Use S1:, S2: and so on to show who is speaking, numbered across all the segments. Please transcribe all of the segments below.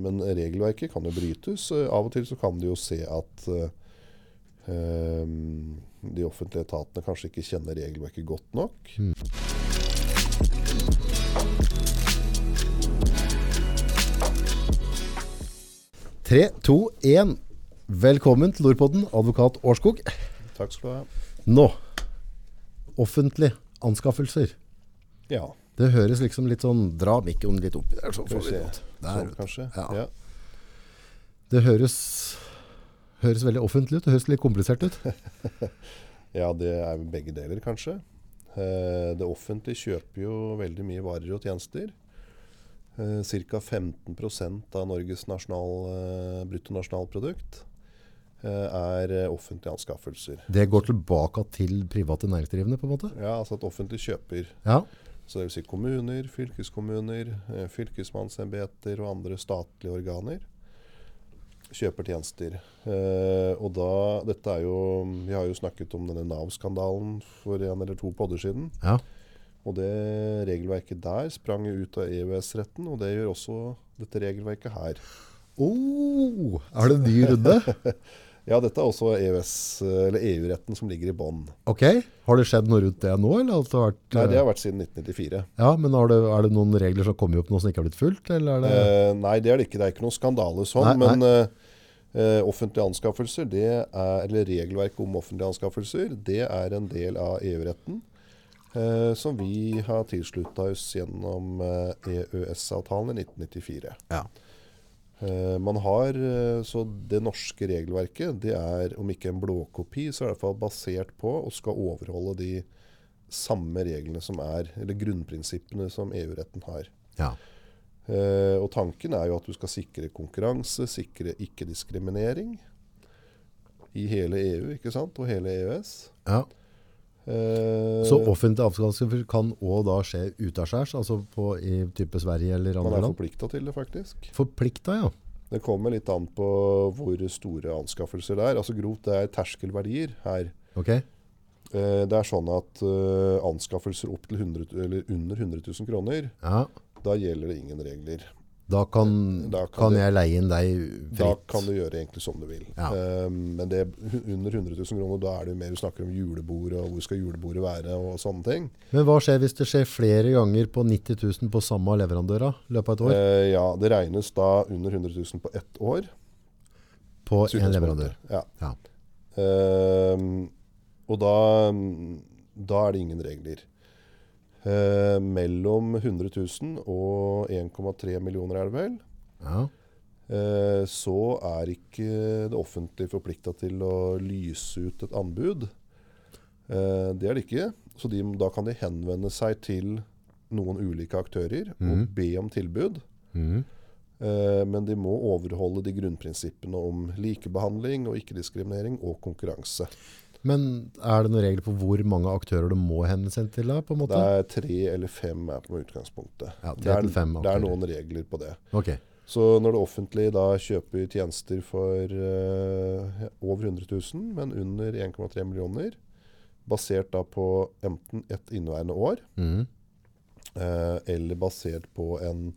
S1: men regelverket kan jo brytes. Eh, Av og til så kan de jo se at eh, eh, de offentlige etatene kanskje ikke kjenner regelverket godt nok.
S2: Mm. Tre, to, én. Velkommen til Nordpodden, advokat Årskog.
S1: Takk skal du ha.
S2: Nå, offentlige anskaffelser.
S1: Ja,
S2: Det høres liksom litt sånn, dra mikken litt opp. Der, sånn
S1: skal
S2: får
S1: vi
S2: vi
S1: se.
S2: det godt. Der,
S1: Sånn
S2: vet du.
S1: kanskje.
S2: Ja.
S1: Ja.
S2: Det høres, høres veldig offentlig ut, det høres litt komplisert ut.
S1: ja, det er vel begge deler kanskje. Eh, Det offentlige kjøper jo veldig mye varer og tjenester. Eh, Ca. 15 av Norges nasjonal, eh, bruttonasjonalprodukt eh, er eh, offentlige anskaffelser.
S2: Det går tilbake til private næringsdrivende på en måte.
S1: Ja, altså at offentlig kjøper.
S2: Ja,
S1: Så det vil si kommuner, fylkeskommuner, eh, fylkesmannsembeter og andre statlige organer kjøper tjenester. Eh, og da, dette er jo, Vi har jo snakket om denne Nav-skandalen for en eller to podder siden.
S2: ja.
S1: Og det regelverket der sprang jo ut av EØS-retten, og det gjør også dette regelverket her.
S2: Oh, er det en ny runde?
S1: Ja, dette er også E EØS- eh, eller EU-retten som ligger i bånn.
S2: Ok, har det skjedd noe rundt det nå? Eller har det vært, eh,
S1: Nei, det har vært siden 1994.
S2: Ja, men har det, er det noen regler som kommer opp nå som ikke har blitt fulgt? Eller er det...
S1: Eh, nei, det er det ikke. Det er ikke noen skandale sånn.
S2: Nei, nei.
S1: Men eh, eh, offentlige anskaffelser, det er, eller regelverket om offentlige anskaffelser, det er en del av EU-retten. eh, som vi har tilslutta oss gjennom eh, EØS-avtalen i 1994.
S2: Ja.
S1: Eh, man har, eh, så Det norske regelverket det er om ikke en blåkopi, så er det i hvert fall basert på og skal overholde de samme reglene som er, eller grunnprinsippene som EU-retten har.
S2: ja.
S1: Eh, og tanken er jo at du skal sikre konkurranse, sikre ikke-diskriminering i hele EU ikke sant? og hele EØS.
S2: ja.
S1: Eh,
S2: Så offentlige avskaffelser kan også da skje utaskjærs, altså på, i type Sverige eller
S1: man
S2: andre
S1: er
S2: land?
S1: forplikta til det, faktisk.
S2: Forplikta, ja.
S1: Det kommer litt an på hvor store anskaffelser det er. Altså Grovt det er terskelverdier her.
S2: Ok.
S1: Eh, det er sånn at eh, anskaffelser opp til 100, eller under 100 000 kroner,
S2: Ja.
S1: da gjelder det ingen regler.
S2: Da kan,
S1: Da
S2: kan,
S1: kan du-
S2: jeg leie inn deg
S1: Da
S2: fritt.
S1: kan du gjøre egentlig som du vil.
S2: Ja.
S1: Eh, men det, under 100 000 kroner, da er det jo mer du snakker om julebord, og hvor skal julebordet være, og sånne ting.
S2: Men hva skjer hvis det skjer flere ganger på 90 000 på samme leverandør da, i løpet av et år?
S1: Eh, ja, det regnes da under 100 000 på ett år.
S2: På én leverandør?
S1: Ja.
S2: Ja.
S1: Eh, og da, da er det ingen regler. Eh, mellom 100 000 og 1,3 millioner er det vel,
S2: ja.
S1: eh, så er ikke det offentlige forplikta til å lyse ut et anbud. Eh, det er det ikke. Så de, da kan de henvende seg til noen ulike aktører og be om tilbud.
S2: Mhm.
S1: Eh, Men de må overholde de grunnprinsippene om likebehandling og ikke-diskriminering og konkurranse.
S2: Men er det noen regler på hvor mange aktører du må henvende seg til da, på
S1: Det
S2: en måte?
S1: er tre eller fem er på utgangspunktet.
S2: Ja, tre
S1: det, er,
S2: til fem
S1: det er
S2: aktører.
S1: noen regler på det.
S2: Ok.
S1: Så når det offentlige da kjøper tjenester for eh, over 100 000, men under 1,3 millioner, basert da på enten et inneværende år,
S2: Mhm.
S1: eh, eller basert på en,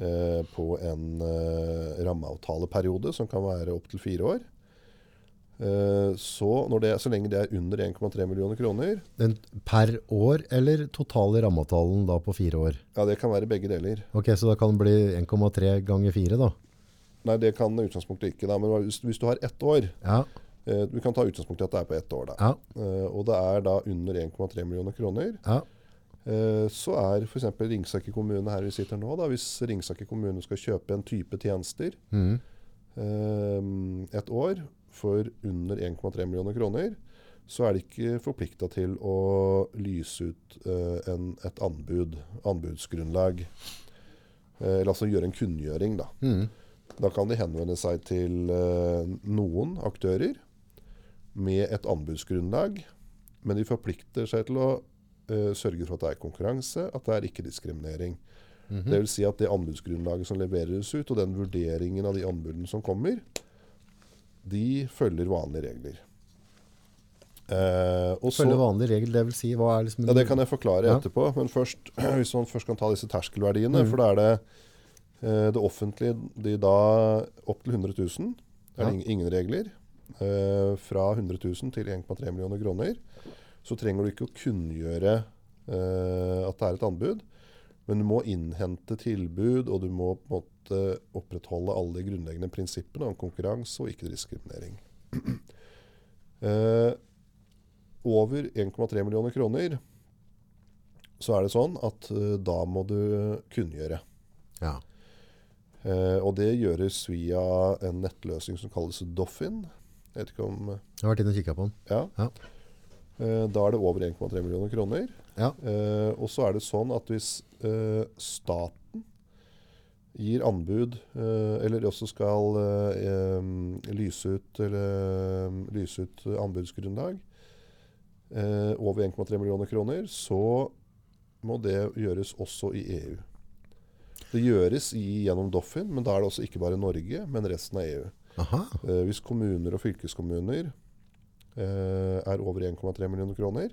S1: eh, på en eh, rammeavtaleperiode, som kan være opptil fire år, eh, så, når det, så lenge det er under 1,3 millioner kroner,
S2: Den, per år, eller totale rammeavtalen da på fire år?
S1: ja, det kan være begge deler.
S2: Ok, så da kan det bli 1,3 ganger 4 da.
S1: Nei, det kan utgangspunktet ikke, da, men hvis, hvis du har ett år,
S2: Ja,
S1: eh, du kan ta utgangspunktet i at det er på ett år, da.
S2: ja,
S1: Eh, og det er da under 1,3 millioner kroner.
S2: ja.
S1: Eh, så er f.eks. Ringsaker kommune her vi sitter nå, da, hvis Ringsaker kommune skal kjøpe en type tjenester
S2: Mhm.
S1: eh, et år for under 1,3 millioner kroner, så er de ikke forplikta til å lyse ut eh, en, et anbud, anbudsgrunnlag. Eh, eller altså gjøre en kunngjøring, da.
S2: Mhm.
S1: Da kan de henvende seg til eh, noen aktører med et anbudsgrunnlag, men de forplikter seg til å eh, sørge for at det er konkurranse, at det er ikke-diskriminering.
S2: Mhm.
S1: Det vil si at det anbudsgrunnlaget som leveres ut, og den vurderingen av de anbudene som kommer, de følger vanlige regler. Eh, og så-
S2: Følge vanlig regel, det vil si, hva er liksom...
S1: ja, Det kan jeg forklare
S2: Ja.
S1: etterpå. Men først, hvis man først kan ta disse terskelverdiene. For da er det Eh, Det offentlige de da opp til 100 000. Det er
S2: Ja.
S1: ing- ingen regler. Eh, Fra 100 000 til 1,3 millioner kroner så trenger du ikke å kunngjøre eh, at det er et anbud. Men du må innhente tilbud, og du må på en måte opprettholde alle de grunnleggende prinsippene om konkurranse og ikke-diskriminering. Eh, over 1,3 millioner kroner så er det sånn at eh, da må du kunngjøre.
S2: Ja.
S1: Eh, og det gjøres via en nettløsning som kalles Doffin. Jeg vet ikke om
S2: Jeg har vært inne og kikka på den.
S1: Ja.
S2: Ja.
S1: Eh, da er det over 1,3 millioner kroner.
S2: Ja.
S1: Eh, og så er det sånn at hvis eh, staten gir anbud, eh, eller også skal eh, em, lyse, ut, eller, em, lyse ut anbudsgrunnlag eh, over 1,3 millioner kroner, så må det gjøres også i EU. Det gjøres i, gjennom Doffin, men da er det også ikke bare Norge, men resten av E EU.
S2: Aha.
S1: Eh, hvis kommuner og fylkeskommuner eh, er over 1,3 millioner kroner,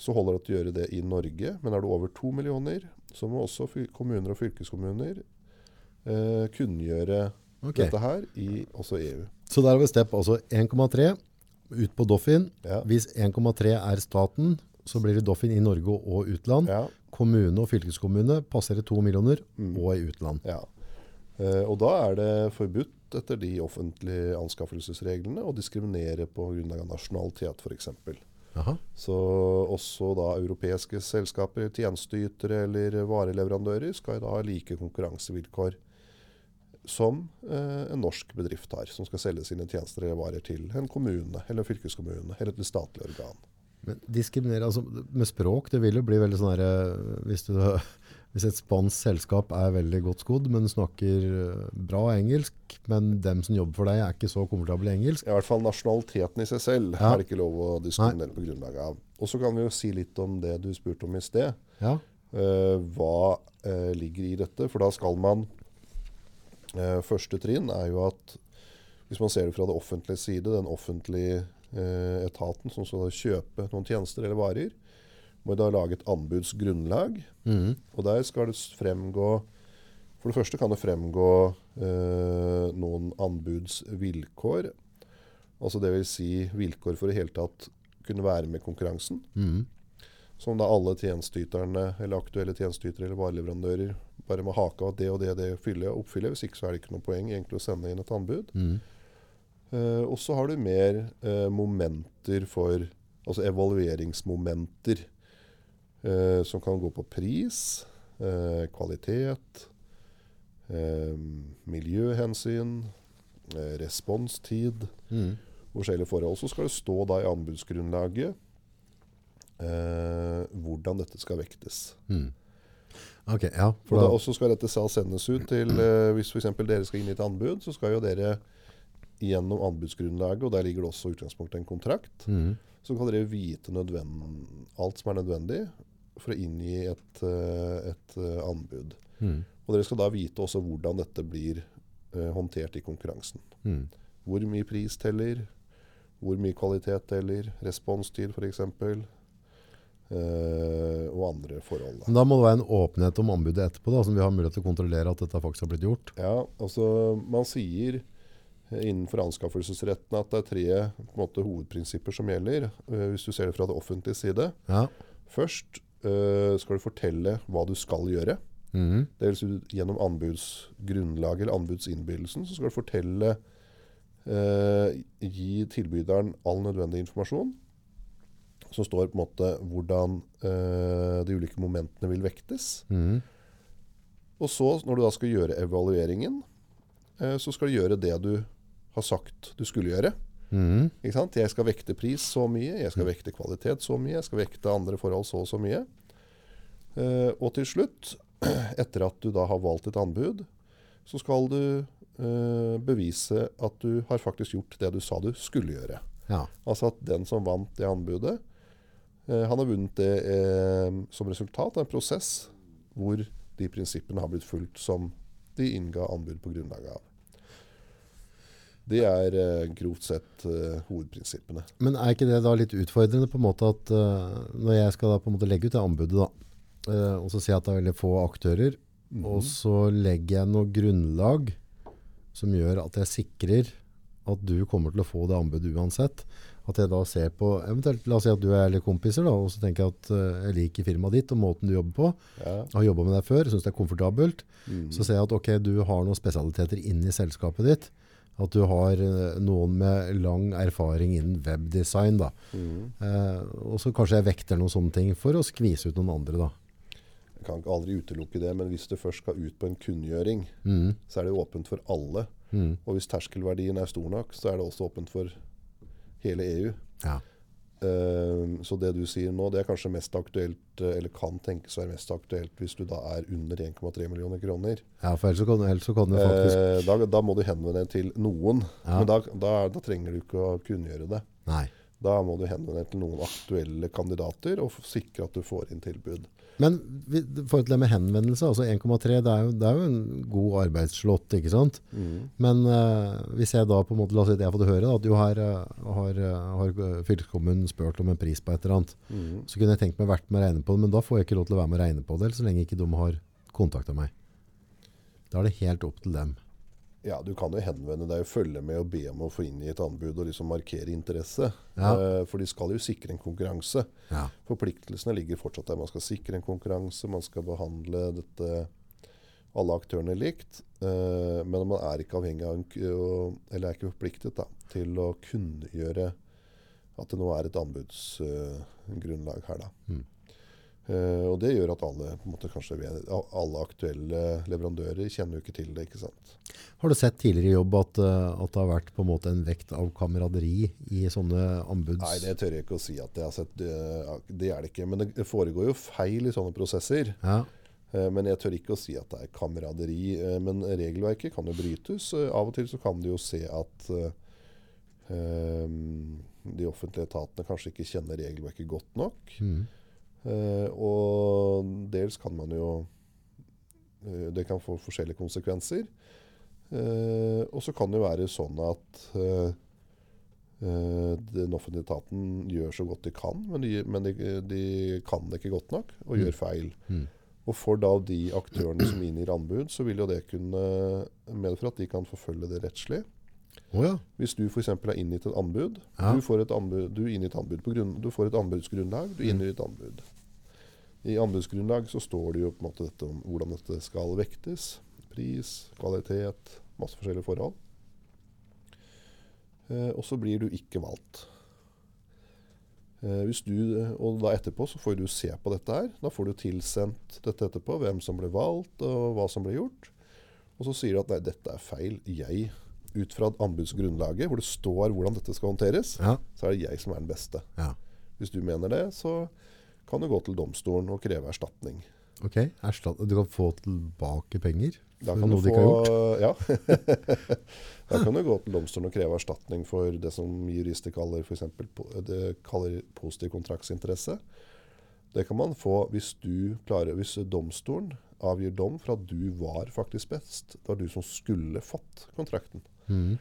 S1: så holder det å gjøre det i Norge. Men er du over 2 millioner, så må også fy- kommuner og fylkeskommuner eh, kunngjøre
S2: Ok.
S1: dette her i også E EU.
S2: Så der har vi step, altså 1,3 ut på Doffin.
S1: Ja.
S2: Hvis 1,3 er staten, så blir det Doffin i Norge og utland.
S1: Ja,
S2: Kommune og fylkeskommune passerer 2 millioner og i utland.
S1: ja. Eh, og da er det forbudt etter de offentlige anskaffelsesreglene å diskriminere på grunnlag av nasjonalitet f.eks.
S2: Aha.
S1: Så også da europeiske selskaper, tjenesteytere eller vareleverandører skal da ha like konkurransevilkår som eh, en norsk bedrift har, som skal selge sine tjenester eller varer til en kommune, eller en fylkeskommune eller til et statlig organ.
S2: Men diskriminere, altså med språk, det vil jo bli veldig sånn her, eh, hvis, du, hvis et spansk selskap er veldig godt skodd, men snakker eh, bra engelsk, men dem som jobber for deg er ikke så komfortable i engelsk.
S1: I hvert fall nasjonaliteten i seg selv
S2: Ja.
S1: er det ikke lov å diskriminere på grunnlag av. Og så kan vi jo si litt om det du spurte om i sted.
S2: Ja,
S1: Eh, hva eh, ligger i dette. For da skal man eh, Første trinn er jo at hvis man ser det fra det offentlige side, den offentlige eh, etaten som skal kjøpe noen tjenester eller varer, må da lage et anbudsgrunnlag. Og der skal det s- fremgå For det første kan det fremgå eh, noen anbudsvilkår. Altså dvs. Si vilkår for i hele tatt kunne være med i konkurransen som da alle tjenesteyterne eller aktuelle tjenesteytere eller vareleverandører bare må hake av at det og det, det fylle og oppfylle. Hvis ikke så er det ikke noe poeng egentlig å sende inn et anbud. Eh, og så har du mer eh, momenter for Altså evalueringsmomenter eh, som kan gå på pris, eh, kvalitet, eh, miljøhensyn, eh, responstid forskjellige forhold. Så skal det stå da i anbudsgrunnlaget eh, hvordan dette skal vektes.
S2: ok, ja.
S1: Og Mm.
S2: For
S1: da
S2: da,
S1: også skal dette selv sendes ut til eh, Hvis f.eks. dere skal inn i et anbud, så skal jo dere gjennom anbudsgrunnlaget, og der ligger det også i utgangspunktet en kontrakt,
S2: Mm.
S1: så kan dere vite nødvendig, alt som er nødvendig for å inngi et, eh, et eh, anbud.
S2: Mm.
S1: Og dere skal da vite også hvordan dette blir eh, håndtert i konkurransen.
S2: Mm.
S1: Hvor mye pris teller, hvor mye kvalitet teller, responstid f.eks. Eh, og andre forhold. Da.
S2: men da må det være en åpenhet om anbudet etterpå, da, som vi har mulighet til å kontrollere at dette faktisk har blitt gjort.
S1: Ja, altså man sier eh, innenfor anskaffelsesretten at det er tre på en måte, hovedprinsipper som gjelder, eh, hvis du ser det fra det offentlige side.
S2: Ja.
S1: Først eh, skal du fortelle hva du skal gjøre.
S2: Mhm.
S1: Det vil si du- gjennom anbudsgrunnlaget eller anbudsinnbydelsen så skal du fortelle eh, Gi tilbyderen all nødvendig informasjon som står på en måte hvordan eh, de ulike momentene vil vektes.
S2: Mhm.
S1: Og så, når du da skal gjøre evalueringen, eh, så skal du gjøre det du har sagt du skulle gjøre.
S2: Mhm.
S1: Ikke sant? Jeg skal vekte pris så mye, jeg skal vekte kvalitet så mye, jeg skal vekte andre forhold så og så mye. Eh, og til slutt, etter at du da har valgt et anbud, så skal du eh, bevise at du har faktisk gjort det du sa du skulle gjøre.
S2: Ja.
S1: Altså at den som vant det anbudet, eh, han har vunnet det eh, som resultat av en prosess hvor de prinsippene har blitt fulgt som de innga anbud på grunnlag av. Det er eh, grovt sett eh, hovedprinsippene.
S2: Men er ikke det da litt utfordrende på en måte at eh, når jeg skal da på en måte legge ut det anbudet da, eh, og så si at det er veldig få aktører, Og så legger jeg noe grunnlag som gjør at jeg sikrer at du kommer til å få det anbudet uansett. At jeg da ser på, eventuelt la oss si at du og jeg er litt kompiser, da, og så tenker jeg at eh, jeg liker firmaet ditt og måten du jobber på.
S1: Ja. mm.
S2: Jeg har jobba med deg før, syns det er komfortabelt. Så ser jeg at ok, du har noen spesialiteter inni selskapet ditt. At du har eh, noen med lang erfaring innen webdesign. da.
S1: Mm.
S2: Eh, og så kanskje jeg vekter noen sånne ting for å skvise ut noen andre. da.
S1: Jeg kan ikke aldri utelukke det, men hvis det først skal ut på en kunngjøring, så er det åpent for alle. Og hvis terskelverdien er stor nok, så er det også åpent for hele E EU.
S2: Ja.
S1: Eh, Så det du sier nå, det er kanskje mest aktuelt, eh, eller kan tenkes å være mest aktuelt hvis du da er under 1,3 millioner kroner.
S2: ja, for ellers så kan, ellers så kan du faktisk
S1: Eh, Da, da må du henvende deg til noen,
S2: Ja.
S1: men da, da, da trenger du ikke å kunngjøre det.
S2: Nei.
S1: Da må du henvende deg til noen aktuelle kandidater og f- sikre at du får inn tilbud.
S2: Men vi- i forhold til det med henvendelse, altså 1,3 det, er jo- det er jo en god arbeidsslott, ikke sant?
S1: Mm.
S2: Men eh, hvis jeg da på en måte, la oss si at jeg har fått høre da, at jo her eh, har, eh, har fylkeskommunen spurt om en pris på et eller annet,
S1: Mm.
S2: så kunne jeg tenkt meg vært med å regne på det, men da får jeg ikke lov til å være med å regne på det, så lenge ikke de har kontaktet meg. Da er det helt opp til dem.
S1: Ja, du kan jo henvende deg og følge med og be om å få inn i et anbud og liksom markere interesse.
S2: Ja.
S1: Eh, For de skal jo sikre en konkurranse.
S2: Ja.
S1: Forpliktelsene ligger fortsatt der. Man skal sikre en konkurranse, man skal behandle dette, alle aktørene likt. eh, Men man er ikke avhengig av en, k- å- eller er ikke forpliktet da, til å kunngjøre at det nå er et anbudsgrunnlag her. Da.
S2: Mm.
S1: Eh, Og det gjør at alle, på en måte, kanskje, vet- a- alle aktuelle leverandører kjenner jo ikke til det. ikke sant?
S2: Har du sett tidligere i jobb at, eh, at det har vært på en måte en vekt av kameraderi i sånne anbuds...
S1: Nei, det tør jeg ikke å si at jeg har sett. Det, det er det ikke. Men det foregår jo feil i sånne prosesser.
S2: Ja,
S1: Eh, Men jeg tør ikke å si at det er kameraderi. eh, Men regelverket kan jo brytes. Eh, Av og til så kan du jo se at eh, eh, de offentlige etatene kanskje ikke kjenner regelverket godt nok.
S2: Mhm.
S1: Eh, Og dels kan man jo eh, Det kan få forskjellige konsekvenser. Eh, Og så kan det jo være sånn at eh, eh, den offentlige etaten gjør så godt de kan, men de, men de, de kan det ikke godt nok og gjør feil.
S2: Mm.
S1: Og for da de aktørene som inngir anbud, så vil jo det kunne medføre at de kan forfølge det rettslig.
S2: Åja.
S1: Hvis du f.eks. har inngitt et anbud,
S2: Ja.
S1: du får et, anbud, du inngir et anbud på grunn, du får et anbudsgrunnlag, du inngir et anbud. I anbudsgrunnlag så står det jo på en måte dette om hvordan dette skal vektes. Pris, kvalitet, masse forskjellige forhold. Eh, og så blir du ikke valgt. Eh, hvis du, og da etterpå så får du se på dette her. Da får du tilsendt dette etterpå, hvem som ble valgt og hva som ble gjort. Og så sier du at nei, dette er feil. Jeg, ut fra anbudsgrunnlaget, hvor det står hvordan dette skal håndteres,
S2: ja,
S1: så er det jeg som er den beste.
S2: ja.
S1: Hvis du mener det, så kan du gå til domstolen og kreve erstatning.
S2: Ok, erstatt, du kan få tilbake penger
S1: Da
S2: for
S1: kan, du
S2: noe
S1: få,
S2: de ikke har gjort.
S1: Ja. da kan du gå til domstolen og kreve erstatning for det som jurister kaller, for eksempel, po- det kaller positiv kontraktsinteresse. Det kan man få hvis, du klarer, hvis domstolen avgir dom for at du var faktisk best. Det var du som skulle fått kontrakten.
S2: Mhm.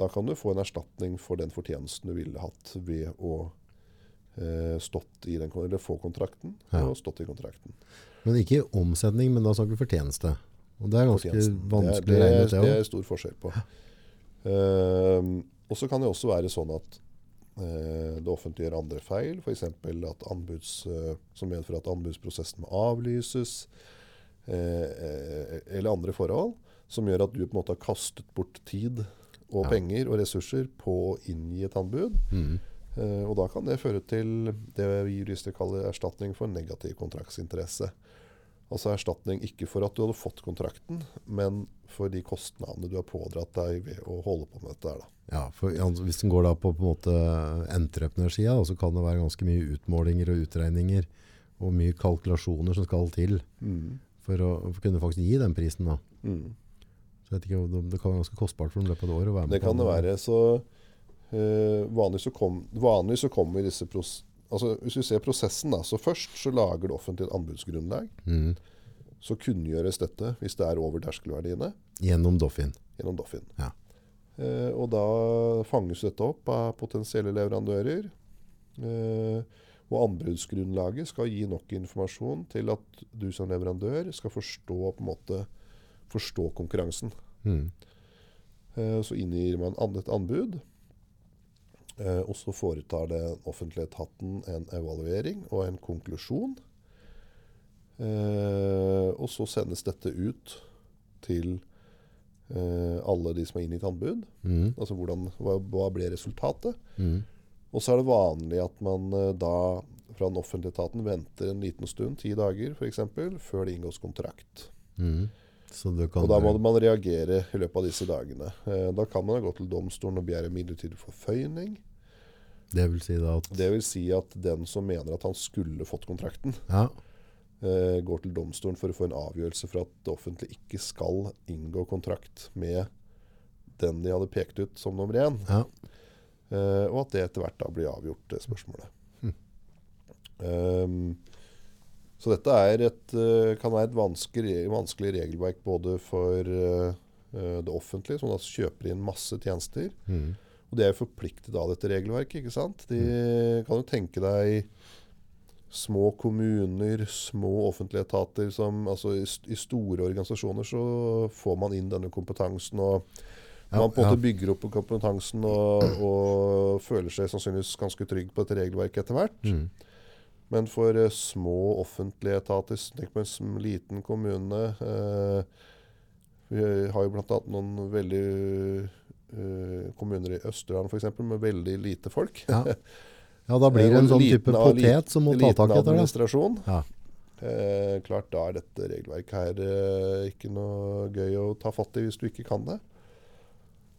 S1: Da kan du få en erstatning for den fortjenesten du ville hatt ved å eh, stått i den, kon- eller få kontrakten
S2: Ja.
S1: og stått i kontrakten.
S2: Men ikke omsetning, men da snakker vi fortjeneste. Og det er ganske
S1: fortjenesten.
S2: altså. vanskelig
S1: det, er-
S2: å regne ut
S1: det,
S2: det
S1: er- det
S2: også.
S1: er stor forskjell på. Ehm, og så kan det også være sånn at eh, det offentlige gjør andre feil, f.eks. at anbuds, eh, som medfører at anbudsprosessen må avlyses, eh, eh, eller andre forhold som gjør at du på en måte har kastet bort tid og
S2: Ja.
S1: penger og ressurser på å inngi et anbud.
S2: Mhm.
S1: Eh, og da kan det føre til det vi jurister kaller erstatning for negativ kontraktsinteresse. Altså erstatning ikke for at du hadde fått kontrakten, men for de kostnadene du har pådratt deg ved å holde på med dette. her, Da.
S2: Ja, for ja, altså, hvis den går da på, på en måte entreprenørsida, da, så kan det være ganske mye utmålinger og utregninger og mye kalkulasjoner som skal til for å for å kunne faktisk gi den prisen. Da.
S1: Mm.
S2: Så jeg vet ikke, om det, det kan være ganske kostbart for dem i løpet av et år å være med
S1: Det
S2: på
S1: kan det
S2: den.
S1: være. Så, eh, vanligvis, så kom, vanligvis så kommer disse pros altså, Hvis vi ser prosessen, da, så først så lager det offentlig et anbudsgrunnlag.
S2: Mhm.
S1: Så kunngjøres dette hvis det er over terskelverdiene.
S2: Gjennom Doffin.
S1: gjennom Doffin.
S2: Ja.
S1: Eh, og da fanges dette opp av potensielle leverandører. Eh, Og anbudsgrunnlaget skal gi nok informasjon til at du som leverandør skal forstå, på en måte, forstå konkurransen.
S2: Mm.
S1: Eh, Så inngir man an- et anbud. eh, Og så foretar den offentlige etaten en evaluering og en konklusjon. Eh, Og så sendes dette ut til eh, alle de som har inngitt anbud.
S2: Mm.
S1: Altså hvordan, hva, hva ble resultatet?
S2: Mm.
S1: Og så er det vanlig at man eh, da fra den offentlige etaten venter en liten stund, ti dager f.eks., før det inngås kontrakt.
S2: Mm. Så det kan
S1: Og da må man reagere i løpet av disse dagene. Eh, Da kan man gå til domstolen og begjære midlertidig forføyning.
S2: Det vil si da at
S1: Det vil si at den som mener at han skulle fått kontrakten,
S2: ja,
S1: eh, går til domstolen for å få en avgjørelse for at det offentlige ikke skal inngå kontrakt med den de hadde pekt ut som nummer én.
S2: ja.
S1: Eh, og at det etter hvert da blir avgjort, det spørsmålet. Um, så dette er et, eh, kan være et vanskelig, vanskelig regelverk både for eh, eh, det offentlige, som altså kjøper inn masse tjenester.
S2: Mm.
S1: Og de er jo forpliktet av dette regelverket. ikke sant? De
S2: Mm.
S1: kan jo tenke deg små kommuner, små offentlige etater som altså i, st- I store organisasjoner så får man inn denne kompetansen. og
S2: Ja,
S1: man på en
S2: ja.
S1: måte bygger opp kompetansen og, og føler seg sannsynligvis ganske trygg på dette regelverket etter hvert.
S2: Mm.
S1: Men for eh, små offentlige etater, så tenk på en sm- liten kommune eh, Vi har jo bl.a. noen veldig eh, kommuner i Østerdalen f.eks. med veldig lite folk.
S2: Ja. ja, da blir det
S1: Eh, Og
S2: en sånn
S1: liten
S2: type
S1: av- lit-
S2: potet som må ta
S1: liten
S2: tak etter det.
S1: administrasjon.
S2: Ja.
S1: Eh, klart, da er dette regelverket her eh, ikke noe gøy å ta fatt i hvis du ikke kan det.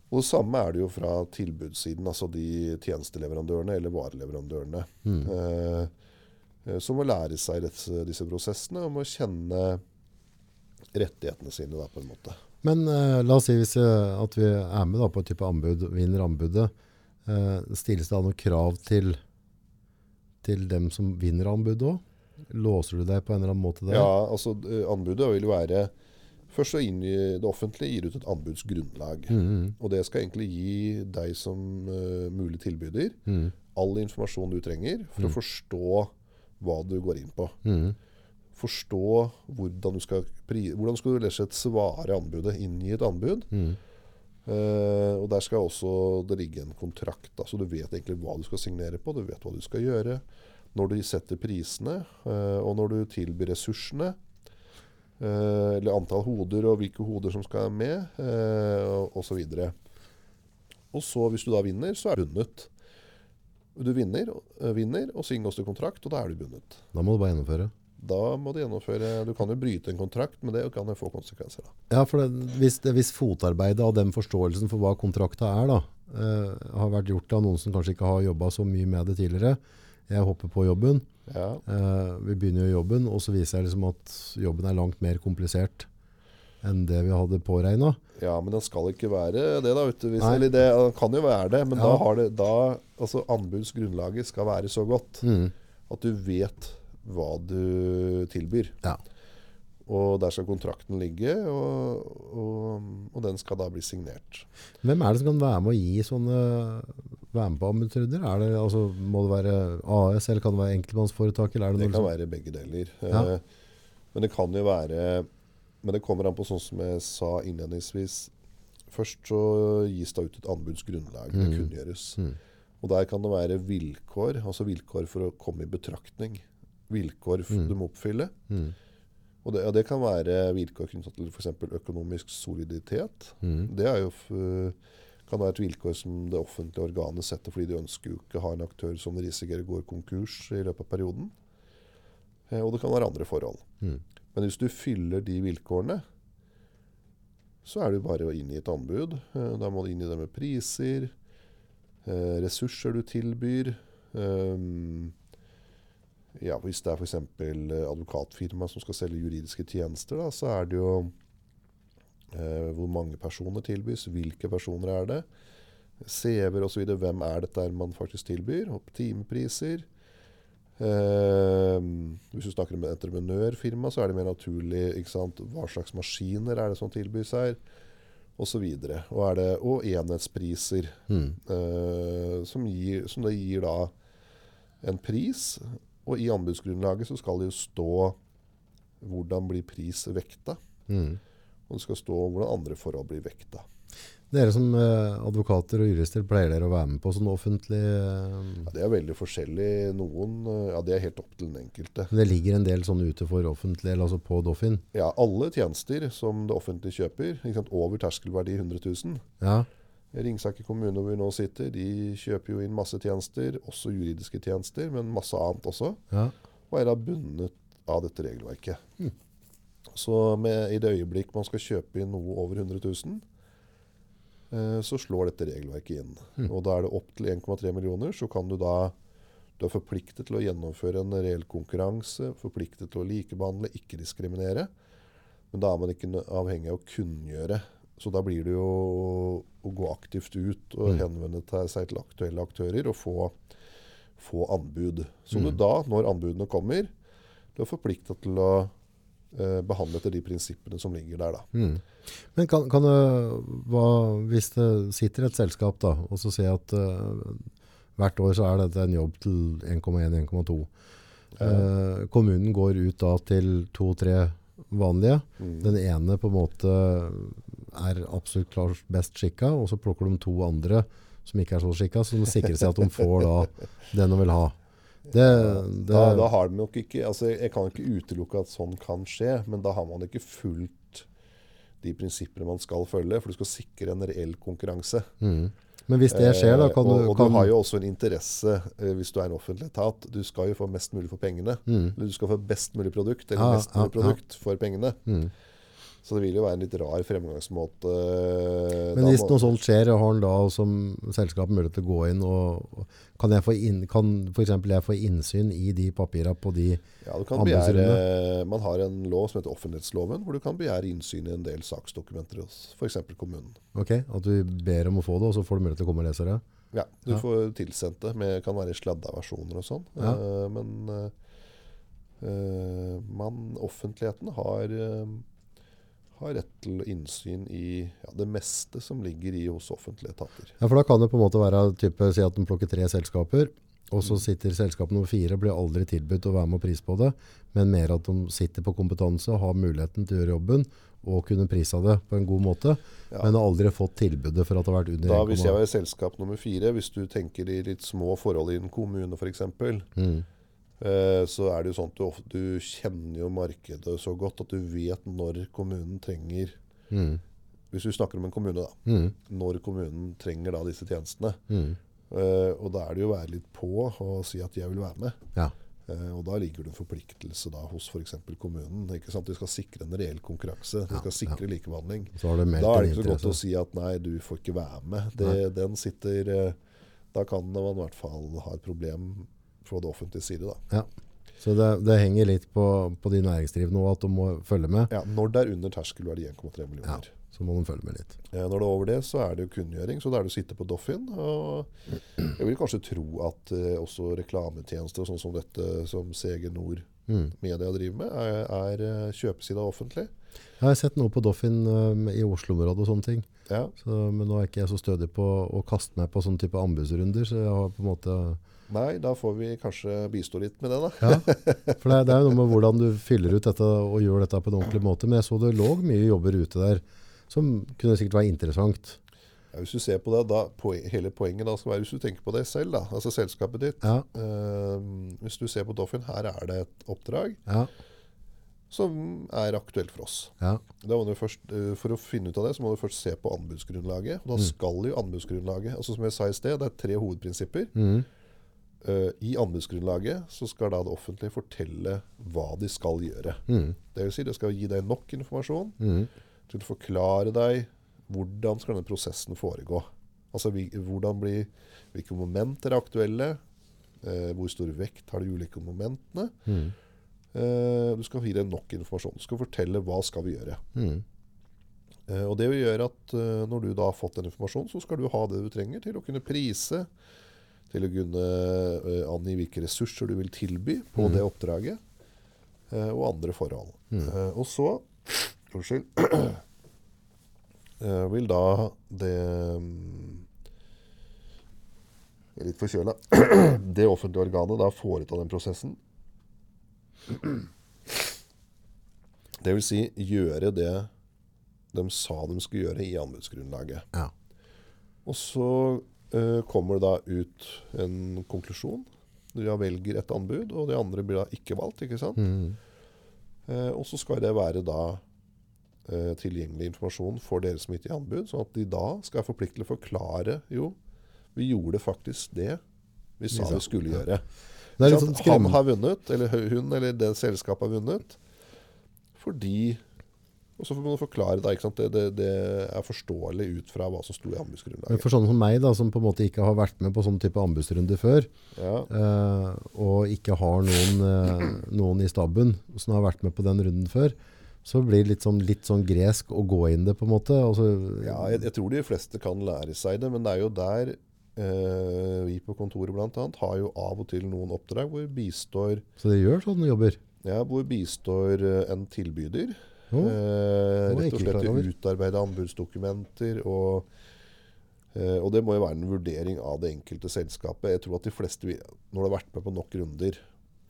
S1: Og det samme er det jo fra tilbudssiden, altså de tjenesteleverandørene eller vareleverandørene.
S2: Mm.
S1: Eh, eh, som må lære seg disse, disse prosessene og må kjenne rettighetene sine, da, på en måte.
S2: Men eh, la oss si hvis, eh, at vi er med da, på et type anbud, vinner anbudet. Eh, stilles det da noen krav til, til dem som vinner anbudet òg? Låser du deg på en eller annen måte der?
S1: Ja, altså eh, Anbudet vil jo være Først så inn i det offentlige gir ut et anbudsgrunnlag.
S2: Mm,
S1: Og det skal egentlig gi deg som eh, mulig tilbyder
S2: mm,
S1: all informasjon du trenger for å forstå hva du går inn på.
S2: mm,
S1: Forstå hvordan du skal, pri hvordan skal du rett og slett svare anbudet. Inngi et anbud.
S2: mm,
S1: Eh, og Der skal også det ligge en kontrakt. Da, så du vet egentlig hva du skal signere på, du vet hva du skal gjøre. Når du setter prisene, eh, og når du tilbyr ressursene, eh, eller antall hoder og hvilke hoder som skal med, eh, og osv. Og så, hvis du da vinner, så er du bundet. Du vinner, eh, vinner og så inngås det kontrakt, og da er du bundet.
S2: Da må du bare gjennomføre.
S1: Da må du gjennomføre Du kan jo bryte en kontrakt, men det kan jo få konsekvenser. da.
S2: Ja, for det, hvis, det, hvis fotarbeidet av den forståelsen for hva kontrakta er, da, eh, har vært gjort av noen som kanskje ikke har jobba så mye med det tidligere Jeg hopper på jobben,
S1: Ja.
S2: eh, vi begynner jo jobben, og så viser jeg liksom at jobben er langt mer komplisert enn det vi hadde påregna.
S1: Ja, men den skal ikke være det, da. Vet du, hvis,
S2: Nei.
S1: eller det den kan jo være det, men da
S2: Ja.
S1: har det da, altså Anbudsgrunnlaget skal være så godt
S2: Mm.
S1: at du vet hva du tilbyr.
S2: Ja.
S1: Og der skal kontrakten ligge, og, og, og den skal da bli signert.
S2: Hvem er det som kan være med å gi sånne være med på anbudsrunder? Er det, altså, må det være AS, eller kan det være enkeltmannsforetak? Eller er det
S1: Det
S2: noe
S1: kan
S2: som-
S1: være begge deler.
S2: Ja.
S1: Eh, Men det kan jo være Men det kommer an på sånn som jeg sa innledningsvis. Først så gis det ut et anbudsgrunnlag. Det
S2: Mm.
S1: kunngjøres.
S2: Mm.
S1: Og der kan det være vilkår, altså vilkår for å komme i betraktning. Vilkår f-
S2: Mm.
S1: du må oppfylle.
S2: Mm.
S1: Og det, ja, det kan være vilkår knyttet til f.eks. økonomisk soliditet.
S2: Mm.
S1: Det er jo f eh, kan være et vilkår som det offentlige organet setter fordi de ønsker jo ikke å ha en aktør som de risikerer går konkurs i løpet av perioden. Eh, Og det kan være andre forhold.
S2: Mm.
S1: Men hvis du fyller de vilkårene, så er det jo bare å inn i et anbud. Eh, Da må du inn i det med priser, eh, ressurser du tilbyr. ehm, ja, hvis det er f.eks. advokatfirma som skal selge juridiske tjenester, da, så er det jo eh, hvor mange personer tilbys, hvilke personer er det, CV-er osv. Hvem er dette her man faktisk tilbyr? Og timepriser. Eh, hvis du snakker om et entreprenørfirma, så er det mer naturlig ikke sant? hva slags maskiner er det som tilbys her, osv. Og, og, og enhetspriser,
S2: Mm.
S1: eh, som, gir, som det gir da en pris, og i anbudsgrunnlaget så skal det jo stå hvordan blir pris vekta,
S2: Mm.
S1: og det skal stå hvordan andre forhold blir vekta.
S2: Dere som eh, advokater og jurister pleier dere å være med på sånn offentlig eh,
S1: Ja, det er veldig forskjellig. Noen, eh, ja, det er helt opp til den enkelte.
S2: Det ligger en del sånn ute for offentlig, eller altså på Doffin.
S1: Ja, alle tjenester som det offentlige kjøper, ikke sant, over terskelverdi 100 000.
S2: Ja.
S1: Ringsaker kommune, hvor vi nå sitter, de kjøper jo inn masse tjenester, også juridiske tjenester, men masse annet også,
S2: ja.
S1: og er da bundet av dette regelverket. Så med, i det øyeblikk man skal kjøpe inn noe over 100 000, eh, så slår dette regelverket inn. Og da er det opp til 1,3 millioner, så kan du da du er forpliktet til å gjennomføre en reell konkurranse, forpliktet til å likebehandle, ikke diskriminere. Men da er man ikke nø- avhengig av å kunngjøre. Så da blir det jo å gå aktivt ut og henvende te- seg til aktuelle aktører og få, få anbud. Så du da, når anbudene kommer, du er forplikta til å eh, behandle etter de prinsippene som ligger der. Da.
S2: Mm. Men kan, kan det, hva, hvis det sitter et selskap da, og så ser jeg at eh, hvert år så er dette en jobb til 1,1-1,2. Eh, kommunen går ut da til to-tre vanlige. Den ene på en måte er absolutt klart best skikka, og så plukker de to andre som ikke er så skikka, som sikrer seg at de får da den de vil ha. Det, det,
S1: Da, da har de nok ikke, altså Jeg kan ikke utelukke at sånn kan skje, men da har man ikke fulgt de prinsippene man skal følge, for du skal sikre en reell konkurranse.
S2: mm. Men hvis det skjer, da
S1: Eh,
S2: kan du,
S1: og, og
S2: kan,
S1: du har jo også en interesse eh, hvis du er en offentlig etat. Du skal jo få mest mulig for pengene. Eller du skal få best mulig produkt eller
S2: Mm. Ja,
S1: best
S2: ja,
S1: mulig
S2: ja.
S1: produkt for pengene.
S2: Mm.
S1: Så det vil jo være en litt rar fremgangsmåte. eh,
S2: Men
S1: da
S2: hvis
S1: må-
S2: noe sånt skjer, har han da som selskap mulighet til å gå inn og og Kan, jeg få inn, kan for eksempel jeg få innsyn i de papirene på de
S1: ja, du kan
S2: anbudsrunde.
S1: begjære, Man har en lov som heter offentlighetsloven, hvor du kan begjære innsyn i en del saksdokumenter hos f.eks. kommunen.
S2: Ok, at du ber om å få det, og så får du mulighet til å komme og lese det?
S1: Ja, du
S2: Ja.
S1: får tilsendt det. Med, kan være sladda versjoner og sånn.
S2: Ja.
S1: Eh, men eh, eh, man, offentligheten har, eh, har rett til innsyn i ja, det meste som ligger i hos offentlige etater.
S2: Ja, for da kan det på en måte være type, si at de plukker tre selskaper, og så sitter selskap nummer fire, blir aldri tilbudt å være med og pris på det, men mer at de sitter på kompetanse og har muligheten til å gjøre jobben, og kunne prisa det på en god måte,
S1: Ja.
S2: men har aldri fått tilbudet for at det har vært under
S1: Da, hvis
S2: 1,1.
S1: jeg var i selskap nummer fire, hvis du tenker i litt små forhold i en kommune f.eks.,
S2: Mm.
S1: eh, så er det jo sånn at du, of- du kjenner jo markedet så godt at du vet når kommunen trenger
S2: Mm.
S1: Hvis du snakker om en kommune, da.
S2: Mm.
S1: Når kommunen trenger da disse tjenestene.
S2: Mm.
S1: Eh, og da er det jo å være litt på og si at jeg vil være med.
S2: Ja.
S1: Eh, og da ligger det en forpliktelse da hos f.eks. kommunen. ikke sant? De skal sikre en reell konkurranse. De
S2: Ja,
S1: skal sikre likebehandling.
S2: Så har du meldt
S1: Da er
S2: en
S1: det ikke så godt
S2: interesse.
S1: å si at nei, du får ikke være med. Det, den sitter eh, Da kan man i hvert fall ha et problem fra det offentlige side, da.
S2: Ja. Så det, det henger litt på, på de næringsdrivende nå at de må følge med.
S1: Ja, når det er under terskelverdi 1,3 millioner.
S2: Så må de følge med litt.
S1: Eh, Når det er over det, så er det jo kunngjøring. Så da er det å sitte på Doffin. Og jeg vil kanskje tro at eh, også reklametjenester sånn som dette som CG Nord
S2: Mm.
S1: media driver med, er, er eh, kjøpesida offentlig.
S2: Jeg har sett noe på Doffin um, i Oslo-området og sånne ting.
S1: Ja.
S2: Så, men nå er ikke jeg så stødig på å kaste meg på sånne type anbudsrunder, så jeg har på en måte...
S1: Nei, da får vi kanskje bistå litt med det, da.
S2: Ja, for det, er- det er jo noe med hvordan du fyller ut dette og gjør dette på en ordentlig måte. Men jeg så det lå mye jobber ute der, som kunne sikkert være interessant.
S1: Ja, hvis du ser på det, da, poe- Hele poenget da skal være hvis du tenker på deg selv, da, altså selskapet ditt.
S2: Ja,
S1: Eh, hvis du ser på Doffin, her er det et oppdrag
S2: ja,
S1: som er aktuelt for oss.
S2: ja.
S1: Da må du først, eh, for å finne ut av det, så må du først se på anbudsgrunnlaget. Og da skal jo anbudsgrunnlaget altså Som jeg sa i sted, det er tre hovedprinsipper.
S2: Mm.
S1: Eh, I anbudsgrunnlaget så skal da det offentlige fortelle hva de skal gjøre.
S2: Mm.
S1: Det vil si, det skal gi deg nok informasjon
S2: Mm.
S1: til å forklare deg hvordan skal denne prosessen foregå. Altså vi, hvordan blir, hvilke momenter er aktuelle, eh, hvor stor vekt har de ulike momentene.
S2: Mm.
S1: Eh, du skal gi deg nok informasjon. Du skal fortelle hva skal vi gjøre.
S2: Mm.
S1: Eh, og det vil gjøre at eh, når du da har fått den informasjonen, så skal du ha det du trenger til å kunne prise, til å kunne eh, angi hvilke ressurser du vil tilby på det oppdraget, eh, og andre forhold. Eh, og så Unnskyld. eh, vil da det mm, Jeg er litt forkjøla. Det offentlige organet da foreta den prosessen. Det vil si gjøre det de sa de skulle gjøre i anbudsgrunnlaget.
S2: Ja.
S1: Og så eh, kommer det da ut en konklusjon. Du da velger et anbud, og det andre blir da ikke valgt. ikke sant?
S2: Mm.
S1: Eh, og så skal det være da eh, tilgjengelig informasjon for dere som ikke er i anbud, sånn at de da skal være forpliktet til å forklare jo, vi gjorde faktisk det vi sa
S2: Vi sa.
S1: vi skulle
S2: Ja.
S1: gjøre.
S2: Det er litt
S1: Ikke
S2: sånn
S1: sant?
S2: skrem...
S1: Han har vunnet, eller hø- hun, eller det selskapet har vunnet, fordi Og så må du forklare da, ikke sant? Det, det, det er forståelig ut fra hva som sto i
S2: Men
S1: anbudsgrunnlaget.
S2: Eh, For sånne som meg, da, som på en måte ikke har vært med på sånn type anbudsrunde før,
S1: Ja.
S2: eh, og ikke har noen, eh, noen i staben som har vært med på den runden før, så blir det litt sånn, litt sånn gresk å gå inn det, på en måte. og så-
S1: Ja, jeg, jeg tror de fleste kan lære seg det, men det er jo der eh, vi på kontoret blant annet har jo av og til noen oppdrag hvor bistår,
S2: så det gjør sånne jobber.
S1: ja, hvor bistår eh, en tilbyder. Eh,
S2: Jo. det var jeg
S1: rett og
S2: ikke
S1: slett
S2: klar over.
S1: utarbeide anbudsdokumenter og eh, og det må jo være en vurdering av det enkelte selskapet. Jeg tror at de fleste, vil- Når du har vært med på nok runder,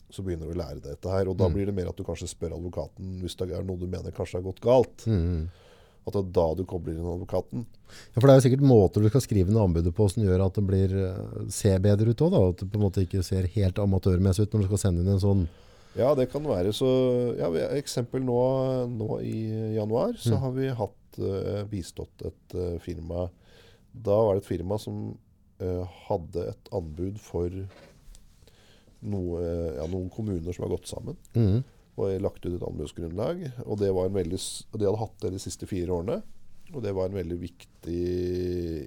S1: så begynner du å lære deg dette her. Og da
S2: Mm.
S1: blir det mer at du kanskje spør advokaten hvis det er noe du mener kanskje har gått galt.
S2: Mm.
S1: At det er da du kobler inn advokaten.
S2: Ja, for det er jo sikkert måter du skal skrive ned anbudet på som gjør at det blir, eh, ser bedre ut òg, da. At det på en måte ikke ser helt amatørmessig ut når du skal sende inn en sånn
S1: Ja, det kan være. Så, ja, vi- eksempel nå, nå i januar så har vi hatt eh, bistått et eh, firma. Da var det et firma som eh, hadde et anbud for noe, eh, ja, noen kommuner som har gått sammen.
S2: mm.
S1: Og lagt ut et anbudsgrunnlag. Og det var en veldig, s- og de hadde hatt det de siste fire årene. Og det var en veldig viktig,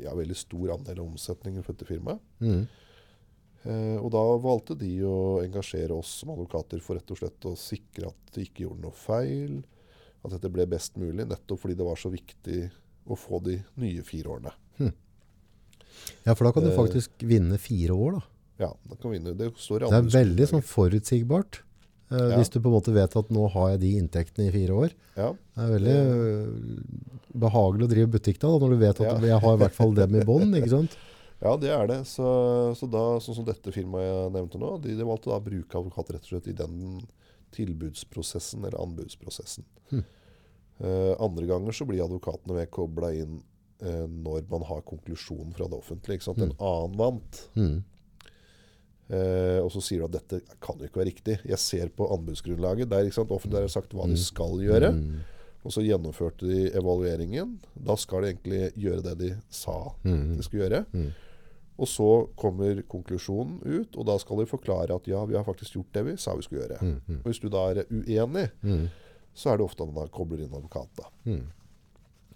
S1: ja, veldig stor andel av omsetningen for dette firmaet.
S2: Mm.
S1: Eh, og da valgte de å engasjere oss som advokater for rett og slett å sikre at de ikke gjorde noe feil, at dette ble best mulig, nettopp fordi det var så viktig å få de nye fire årene.
S2: Ja, for da kan du
S1: Eh.
S2: faktisk vinne fire år, da.
S1: Ja, da kan vi vinne. Det står i
S2: Det er
S1: anbudsgrunnlaget.
S2: veldig sånn forutsigbart. eh,
S1: Ja.
S2: Hvis du på en måte vet at nå har jeg de inntektene i fire år.
S1: Ja,
S2: Det er veldig eh, behagelig å drive butikk da, da, når du vet
S1: Ja.
S2: at jeg har i hvert fall dem i bånd, ikke sant?
S1: ja, det er det. Så, så da, sånn som dette firmaet jeg nevnte nå, de, de valgte da å bruke advokater rett og slett i den tilbudsprosessen, eller anbudsprosessen.
S2: Hm.
S1: Eh, andre ganger så blir advokatene med koblet inn eh, når man har konklusjon fra det offentlige, ikke
S2: Hm.
S1: sant? En annen vant.
S2: Mm.
S1: Eh, og så sier du at dette kan jo ikke være riktig. Jeg ser på anbudsgrunnlaget. Der, ikke sant? Offentlig har jeg sagt hva de skal gjøre.
S2: Mm.
S1: Og så gjennomførte de evalueringen. Da skal de egentlig gjøre det de sa
S2: Mm.
S1: de skulle gjøre.
S2: Mm.
S1: Og så kommer konklusjonen ut, og da skal de forklare at ja, vi har faktisk gjort det vi sa vi skulle gjøre.
S2: Mm. Mm.
S1: Og hvis du da er uenig,
S2: Mm.
S1: så er det ofte man da kobler inn advokat. da.
S2: Mm.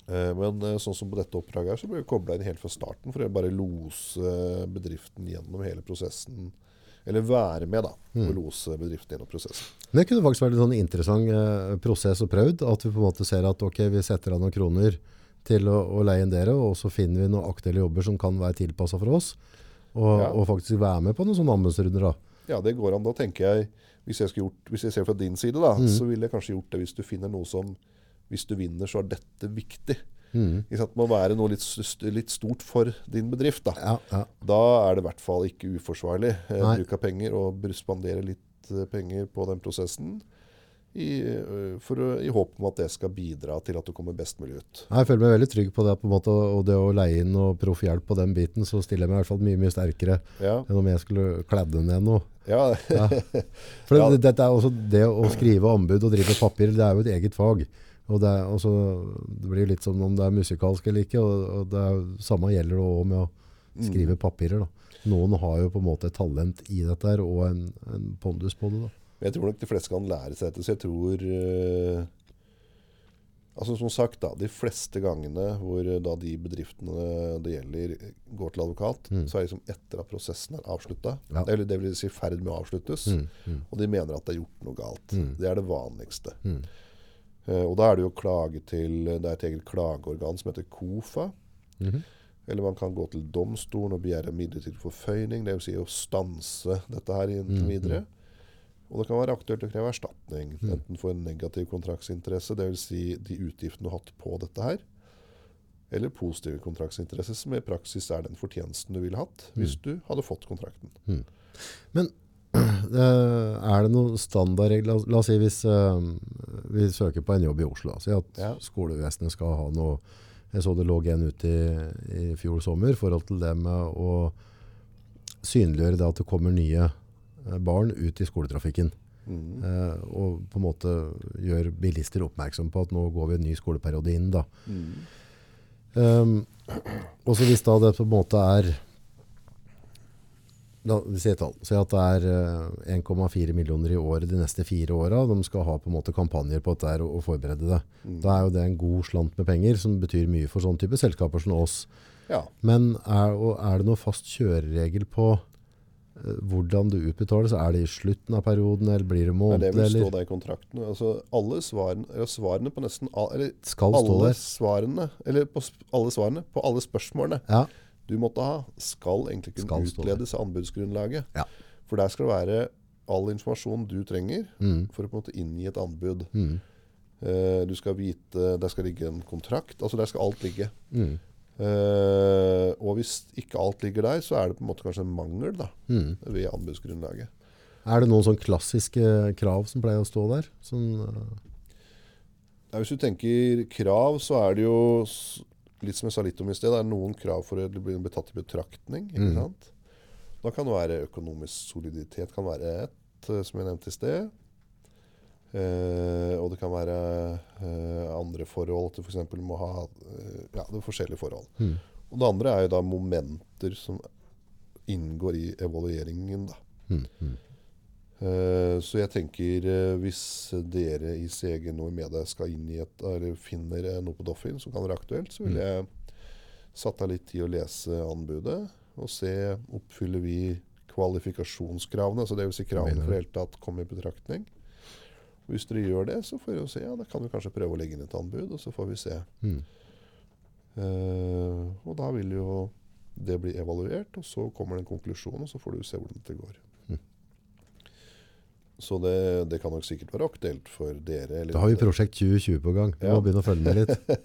S1: Eh, Men eh, sånn som på dette oppdraget her, så ble vi kobla inn helt fra starten for å bare lose bedriften gjennom hele prosessen. Eller være med, da. Og
S2: Mm.
S1: lose bedriften gjennom prosessen.
S2: Men Det kunne faktisk vært en sånn interessant eh, prosess og prøvd, at vi på en måte ser at ok, vi setter av noen kroner til å, å leie inn dere, og så finner vi noen aktuelle jobber som kan være tilpasset for oss, og,
S1: Ja.
S2: og faktisk være med på noen sånne anbudsrunder da.
S1: Ja, det går an. Da tenker jeg, hvis jeg, skulle gjort, hvis jeg ser fra din side, da,
S2: Mm.
S1: så ville jeg kanskje gjort det hvis du finner noe som Hvis du vinner, så er dette viktig.
S2: Mm.
S1: Ikke sant? Det må være noe litt, s- litt stort for din bedrift. da.
S2: Ja, ja.
S1: Da er det i hvert fall ikke uforsvarlig eh,
S2: Nei.
S1: bruk av penger og br- spandere litt eh, penger på den prosessen. I, eh, for, å- I håp om at det skal bidra til at du kommer best mulig ut.
S2: Nei, Jeg føler meg veldig trygg på det, på en måte, og det å leie inn og proffhjelp på den biten, så stiller jeg meg i hvert fall mye, mye sterkere
S1: Ja,
S2: enn om jeg skulle kledde ned noe.
S1: ja,
S2: For
S1: Ja.
S2: det, dette er også det å skrive anbud og drive papir, det er jo et eget fag. Og det, er, også, det blir jo litt som om det er musikalsk eller ikke, og, og det er, samme gjelder det også med å skrive papirer. Da. Noen har jo på en måte et talent i dette her, og en, en pondus på det. Da.
S1: Men jeg tror nok de fleste kan lære seg dette, så jeg tror eh, Altså Som sagt, da, de fleste gangene hvor eh, da de bedriftene det gjelder, eh, går til advokat, så er det liksom etter at prosessen er avslutta.
S2: Ja.
S1: Det, vil- det vil si i ferd med å avsluttes. Og de mener at det er gjort noe galt. Det er det vanligste. Eh, og da er det jo klage til Det er et eget klageorgan som heter KOFA.
S2: Mhm.
S1: Eller man kan gå til domstolen og begjære midlertidig forføyning, dvs. Si å stanse dette her inntil
S2: Mhm.
S1: videre. Og det kan være aktuelt å kreve erstatning, enten for en negativ kontraktsinteresse, dvs. Si de utgiftene du har hatt på dette her, eller positive kontraktsinteresser, som i praksis er den fortjenesten du ville
S2: Mhm.
S1: hatt hvis du hadde fått kontrakten.
S2: Men eh, er det noen standardregler? La, la oss si hvis eh, vi søker på en jobb i Oslo. da. Si at
S1: Ja.
S2: skolevesenet skal ha noe Jeg så det lå en ute i, i fjor sommer i forhold til det med å synliggjøre det at det kommer nye eh, barn ut i skoletrafikken.
S1: Mhm.
S2: Eh, og på en måte gjør bilister oppmerksom på at nå går vi en ny skoleperiode inn. Da. Um, og så hvis da det på en måte er la vi si et tall. Si at det er eh, 1,4 millioner i året de neste fire åra. De skal ha på en måte kampanjer på dette her og, og forberede det.
S1: Mm.
S2: Da er jo det en god slant med penger, som betyr mye for sånne type selskaper som oss.
S1: Ja.
S2: Men er, og er det noen fast kjøreregel på eh, hvordan det utbetales? Er det i slutten av perioden, eller blir det
S1: Men
S2: månedlig?
S1: det vil stå
S2: eller?
S1: der i kontrakten. Altså, alle svarene, eller svarene på nesten all, eller
S2: Skal stå
S1: alle
S2: der.
S1: svarene, eller på sp- alle svarene på alle spørsmålene
S2: Ja.
S1: du måtte ha, skal egentlig kunne
S2: Skal stå der.
S1: utledes av anbudsgrunnlaget.
S2: Ja.
S1: For der skal det være all informasjon du trenger
S2: Mm.
S1: for å på en måte inngi et anbud.
S2: Mm.
S1: Eh, Du skal vite, Der skal ligge en kontrakt. altså Der skal alt ligge.
S2: Mm.
S1: Eh, og hvis ikke alt ligger der, så er det på en måte kanskje en mangel da,
S2: Mm.
S1: ved anbudsgrunnlaget.
S2: Er det noen sånn klassiske krav som pleier å stå der? Sånn, eh,
S1: Ja, hvis du tenker krav, så er det jo s- litt som jeg sa litt om i sted, det er noen krav for å bli, bli tatt i betraktning. ikke
S2: Mm.
S1: sant? Da kan det være økonomisk soliditet kan være ett, eh, som jeg nevnte i sted. Eh, og det kan være eh, andre forhold, at du f.eks. må ha eh, ja, det er forskjellige forhold.
S2: Mm.
S1: Og det andre er jo da momenter som inngår i evalueringen. da.
S2: mm, mm.
S1: Eh, Så jeg tenker eh, hvis dere i CG nå i media skal inn i et, eller finner eh, noe på Doffin som kan være aktuelt, så vil jeg satt av litt tid å lese anbudet og se oppfyller vi kvalifikasjonskravene, så det vil si kravene for i det hele tatt kommer i betraktning. Hvis dere gjør det, så får vi jo se. Ja, da kan vi kanskje prøve å legge inn et anbud, og så får vi se.
S2: Mm.
S1: Eh, og da vil jo det bli evaluert, og så kommer det en konklusjon, og så får du se hvordan det går.
S2: Mm.
S1: Så det, det kan nok sikkert være aktuelt for dere. eller-
S2: Da har vi Prosjekt 2020 på gang. Vi
S1: Ja.
S2: må begynne å følge med litt.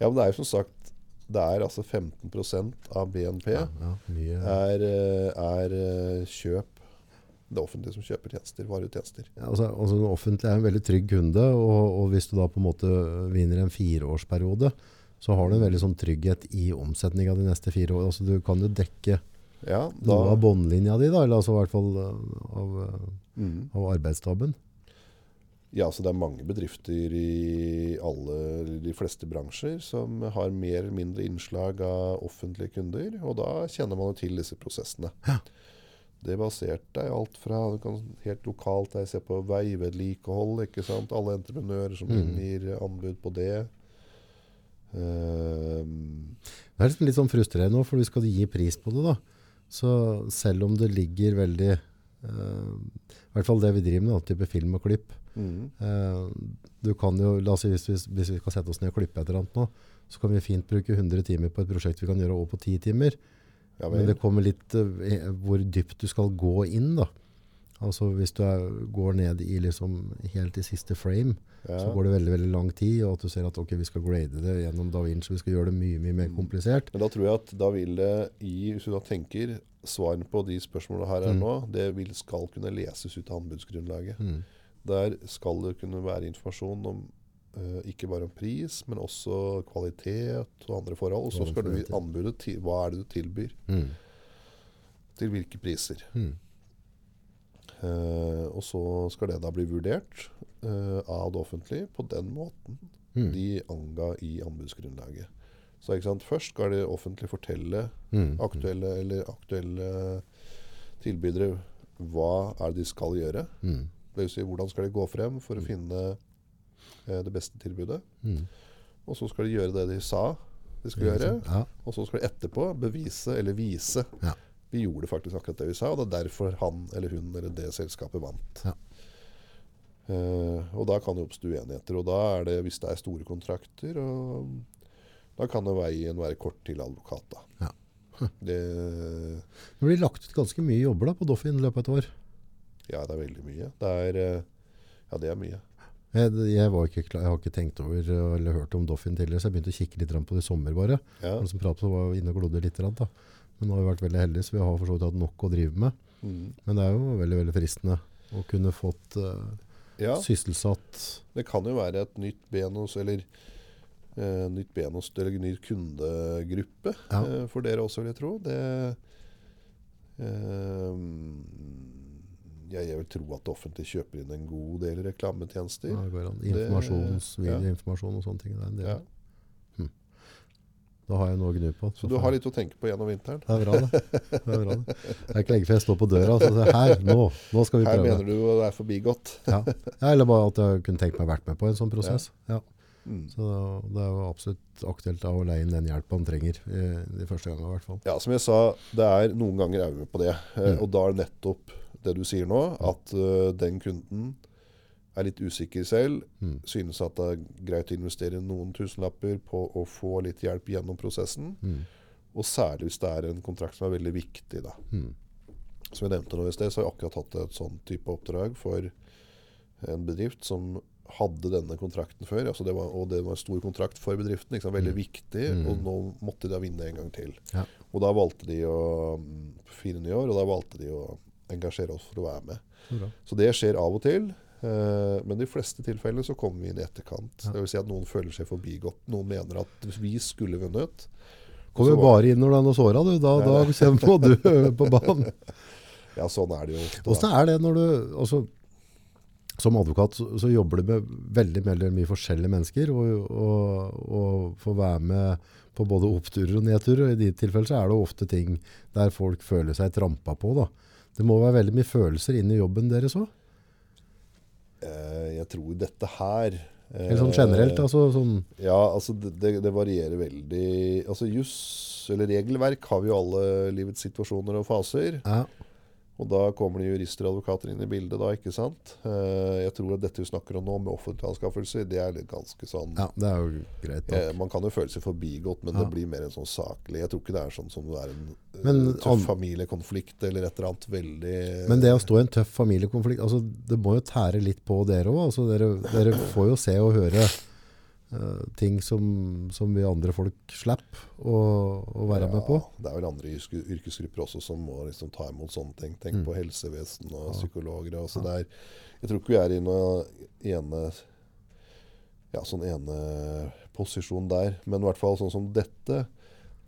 S1: Ja, men det er jo som sagt, det er altså 15 av BNP
S2: Ja, ja, mye.
S1: er, eh, er eh, kjøp. Det offentlige som kjøper tjenester, varer og tjenester.
S2: Ja, altså, altså, den offentlige er en veldig trygg kunde, og, og hvis du da på en måte vinner en fireårsperiode, så har du en veldig sånn trygghet i omsetninga de neste fire årene. Altså, du kan jo dekke
S1: Ja,
S2: noe
S1: da,
S2: av båndlinja di, da, eller altså, i hvert fall eh, av, eh,
S1: Mhm.
S2: av arbeidsstaben.
S1: ja, så det er mange bedrifter i alle, eller de fleste bransjer som har mer eller mindre innslag av offentlige kunder, og da kjenner man jo til disse prosessene.
S2: Ja.
S1: Det baserte er alt fra du kan, helt lokalt der se på veivedlikehold, ikke sant? Alle entreprenører som
S2: Mhm.
S1: gir anbud på det. Ehm,
S2: Det er liksom litt sånn frustrerende nå, for du skal gi pris på det da. Så selv om det ligger veldig, eh, i hvert fall det vi driver med, da, type film og klipp,
S1: mhm.
S2: eh, du kan jo, la oss si, hvis, vi- hvis vi skal sette oss ned og klippe et eller annet nå, så kan vi fint bruke 100 timer på et prosjekt vi kan gjøre over på 10 timer.
S1: Ja, vel.
S2: Men det kommer litt eh, i- hvor dypt du skal gå inn da. Altså hvis du er, går ned i liksom helt i siste frame, så
S1: Ja.
S2: går det veldig, veldig lang tid, og at du ser at ok, vi skal grade det gjennom Da Vinci, vi skal gjøre det mye, mye mer komplisert.
S1: Men da tror jeg at da vil det i, hvis du da tenker, svarene på de spørsmålene her er
S2: Mm.
S1: nå, det vil, skal kunne leses ut av anbudsgrunnlaget.
S2: Mm.
S1: Der skal det kunne være informasjon om eh, ikke bare om pris, men også kvalitet og andre forhold. Og så
S2: Hva
S1: skal du i
S2: forventer.
S1: anbudet til hva er det du tilbyr,
S2: Mm.
S1: til hvilke priser.
S2: Mm.
S1: Eh, og så skal det da bli vurdert eh, av det offentlige på den måten
S2: Mm.
S1: de anga i anbudsgrunnlaget. Så ikke sant? Først skal det offentlige fortelle
S2: Mm.
S1: aktuelle, eller aktuelle tilbydere hva er det de skal gjøre.
S2: Mm.
S1: Det vil si, hvordan skal de gå frem for å finne eh, det beste tilbudet.
S2: Mm.
S1: Og så skal de gjøre det de sa de skulle
S2: Ikke
S1: gjøre.
S2: sant? Ja.
S1: Og så skal de etterpå bevise eller vise.
S2: Ja.
S1: Vi gjorde faktisk akkurat det vi sa, og det er derfor han eller hun eller det selskapet vant.
S2: Ja.
S1: Eh, og da kan det oppstå uenigheter. Og da er det, hvis det er store kontrakter, og da kan det veien være kort til advokat, da.
S2: Ja.
S1: Det,
S2: Det blir lagt ut ganske mye jobber da, på Doffin i løpet av et år.
S1: ja, det er veldig mye. Det er eh, Ja, det er mye.
S2: Jeg, jeg, var ikke klar, jeg har ikke tenkt over eh, eller hørt om Doffin tidligere, så jeg begynte å kikke litt grann på det i sommer bare.
S1: Ja.
S2: Han som pratet var inne og glodde litt. grann, Da. Men nå har vi vært veldig heldige, så vi har for så vidt hatt nok å drive med.
S1: Mm.
S2: Men det er jo veldig, veldig fristende å kunne fått eh,
S1: ja,
S2: sysselsatt
S1: det kan jo være et nytt ben hos Eller eh, nytt ben hos Eller ny kundegruppe
S2: Ja.
S1: eh, for dere også, vil jeg tro. Det eh, Jeg jeg vil tro at det offentlige kjøper inn en god del reklametjenester.
S2: ja, det går an.
S1: Det-
S2: informasjons,
S1: ja.
S2: videoinformasjon og sånne ting. Det er en del.
S1: Ja.
S2: Hm. Da har jeg noe å gnu på.
S1: Så du har litt å tenke på gjennom vinteren.
S2: Det er bra, det. Det er, bra, det. det er ikke lenge før jeg står på døra og sier her, nå, nå skal vi
S1: Her
S2: prøve.
S1: mener du å være forbigått.
S2: Ja. Ja, eller bare at jeg kunne tenkt meg vært med på en sånn prosess. Ja.
S1: Mm.
S2: Så det er jo absolutt aktuelt da å leie inn den hjelpen han trenger, eh, de første gangene i hvert fall.
S1: Ja, som jeg sa, det er noen ganger er vi med på det. Eh,
S2: Mm.
S1: Og da er det nettopp det du sier nå, at eh, den kunden er litt usikker selv,
S2: Mm.
S1: synes at det er greit å investere noen tusenlapper på å få litt hjelp gjennom prosessen,
S2: Mm.
S1: og særlig hvis det er en kontrakt som er veldig viktig. Da.
S2: Mm.
S1: Som jeg nevnte nå i sted, så har jeg akkurat hatt et sånn type oppdrag for en bedrift som hadde denne kontrakten før, altså det var, og det var en stor kontrakt for bedriften, ikke sant, veldig viktig, og nå måtte de da vinne en gang til.
S2: Ja.
S1: Og da valgte de å, mm, fire nye år, og da valgte de å engasjere oss for å være med.
S2: Så bra.
S1: Så det skjer av og til, eh, men i de fleste tilfellene så kommer vi inn i etterkant.
S2: Ja.
S1: Det vil si at noen føler seg forbigått, noen mener at vi skulle vunnet.
S2: Kommer
S1: Så-
S2: jo bare inn når du er noe såra, du. Da, da kommer du på banen.
S1: Ja, sånn er det jo ofte. da.
S2: Hvordan er det når du altså, Som advokat så, så jobber du med veldig veldig mye forskjellige mennesker, og, og, og får være med på både oppturer og nedturer. og I de tilfellene så er det ofte ting der folk føler seg trampa på. Da. Det må være veldig mye følelser inn i jobben deres òg?
S1: Eh, jeg tror dette her eh,
S2: Eller sånn generelt? Altså, sånn,
S1: Ja, altså det, det- det varierer veldig. Altså Juss eller regelverk har vi jo alle livets situasjoner og faser.
S2: ja,
S1: Og da kommer det jurister og advokater inn i bildet, da, ikke sant? Eh, jeg tror at dette vi snakker om nå, med offentlige anskaffelser, det er litt ganske sånn
S2: ja, det er jo greit. Da.
S1: eh, Man kan jo føle seg forbigått, men
S2: Ja.
S1: det blir mer en sånn saklig Jeg tror ikke det er sånn som det er en eh,
S2: Men
S1: tøff
S2: an-
S1: familiekonflikt eller et eller annet veldig
S2: Men det å stå i en tøff familiekonflikt, altså, det må jo tære litt på dere òg. Altså, dere, dere får jo se og høre eh, ting som, som vi andre folk slipper å, å være med på.
S1: Ja, det er vel andre yrke- yrkesgrupper også som må liksom ta imot sånne ting.
S2: Mm.
S1: Tenk på helsevesen og psykologer. Og så det er- Jeg tror ikke vi er i noe ene ja, sånn ene posisjon der. Men i hvert fall sånn som dette.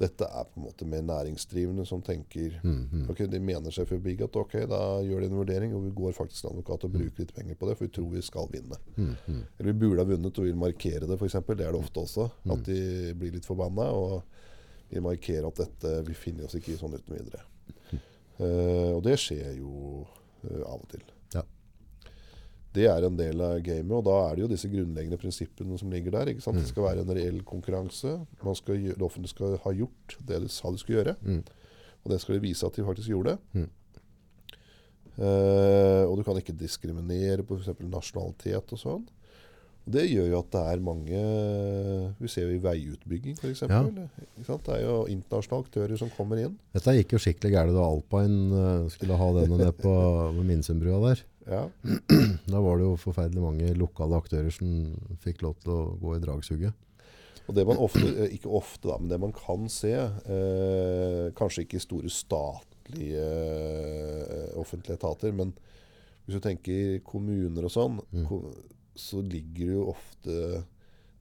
S1: Dette er på en måte mer næringsdrivende som tenker
S2: Mm,
S1: ok, De mener seg forbigått. Ok, da gjør de en vurdering, og vi går faktisk til advokat og bruker litt penger på det, for vi tror vi skal vinne.
S2: mm,
S1: Eller vi burde ha vunnet og vil markere det, f.eks. Det er det ofte også. At de blir litt forbanna og vil markere at dette Vi finner oss ikke i sånn uten videre. Eh, og det skjer jo eh, av og til.
S2: Ja.
S1: Det er en del av gamet, og da er det jo disse grunnleggende prinsippene som ligger der. ikke sant? Det skal være en reell konkurranse. Man skal, gjø- det offentlige skal ha gjort det de sa de skulle gjøre.
S2: Mm.
S1: Og det skal de vise at de faktisk gjorde.
S2: Mm.
S1: Eh, og du kan ikke diskriminere på f.eks. nasjonalitet og sånn. Det gjør jo at det er mange Vi ser jo i veiutbygging f.eks.
S2: Ja.
S1: Det er jo internasjonale aktører som kommer inn.
S2: Dette gikk jo skikkelig gærent da Alpine eh, skulle ha denne nede på ved Minnesundbrua der.
S1: Ja.
S2: Da var det jo forferdelig mange lokale aktører som fikk lov til å gå i dragsuget.
S1: Og det man ofte, eh, ikke ofte da, men det man kan se, eh, kanskje ikke i store statlige eh, offentlige etater, men hvis du tenker kommuner og sånn,
S2: Mm.
S1: ko- så ligger det jo ofte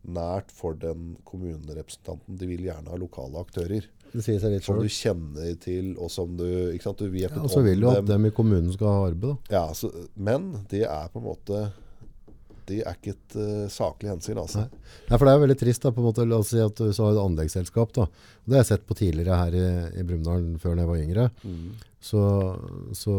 S1: nært for den kommunerepresentanten. De vil gjerne ha lokale aktører
S2: Det sier seg litt
S1: som
S2: sjøl.
S1: du kjenner til, og som du, ikke sant, du vet
S2: Ja,
S1: litt
S2: og så
S1: om
S2: vil jo at
S1: dem.
S2: dem i kommunen skal ha arbeid, da.
S1: Ja, så, men det er på en måte det er ikke et eh, saklig hensyn, altså.
S2: Nei. Nei, for det er jo veldig trist da, på en måte, la oss si at hvis du har et anleggsselskap da, og det har jeg sett på tidligere her i, i Brumdalen før når jeg var yngre,
S1: Mm.
S2: så, så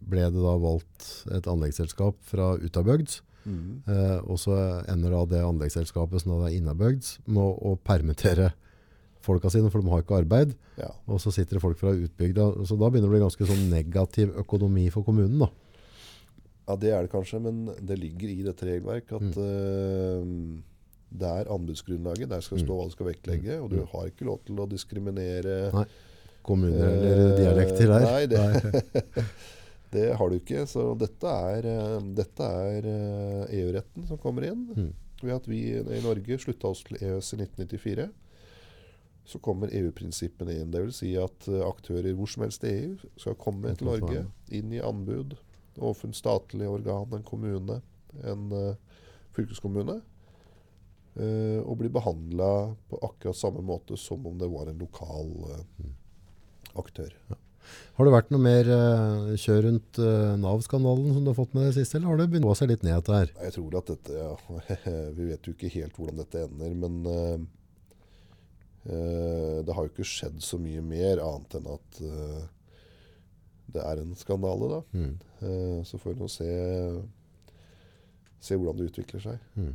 S2: ble det da valgt et anleggsselskap fra utabøgds,
S1: Mm.
S2: eh, og så ender da det anleggsselskapet som da er innabøgds med å, å permittere folka sine, for de har ikke arbeid,
S1: Ja.
S2: og så sitter det folk fra utbygda, så da begynner det å bli ganske sånn negativ økonomi for kommunen da.
S1: Ja, det er det kanskje, men det ligger i dette regelverket at eh, det er anbudsgrunnlaget. Der skal det stå hva du skal vektlegge, og du har ikke lov til å diskriminere
S2: Nei. Kommuner eller dialekter der.
S1: Nei, det, Det har du ikke. Så dette er, eh, dette er eh, EU-retten som kommer inn.
S2: Mm.
S1: Ved at vi i Norge slutta oss til EØS i 1994, så kommer EU-prinsippene inn. Dvs. Si at eh, aktører hvor som helst i EU skal komme
S2: Kan
S1: til Norge,
S2: svare.
S1: inn i anbud overfor en statlig organ, en kommune, en eh, fylkeskommune, eh, og bli behandla på akkurat samme måte som om det var en lokal eh, aktør.
S2: Har det vært noe mer eh, kjør rundt eh, Nav-skandalen som du har fått med deg sist, eller har det begynt å gå seg litt ned etter her?
S1: Nei, Jeg tror at dette ja, Vi vet jo ikke helt hvordan dette ender, men eh, eh, det har jo ikke skjedd så mye mer annet enn at eh, det er en skandale, da.
S2: Mm.
S1: Eh, så får vi nå se, se hvordan det utvikler seg.
S2: Mm.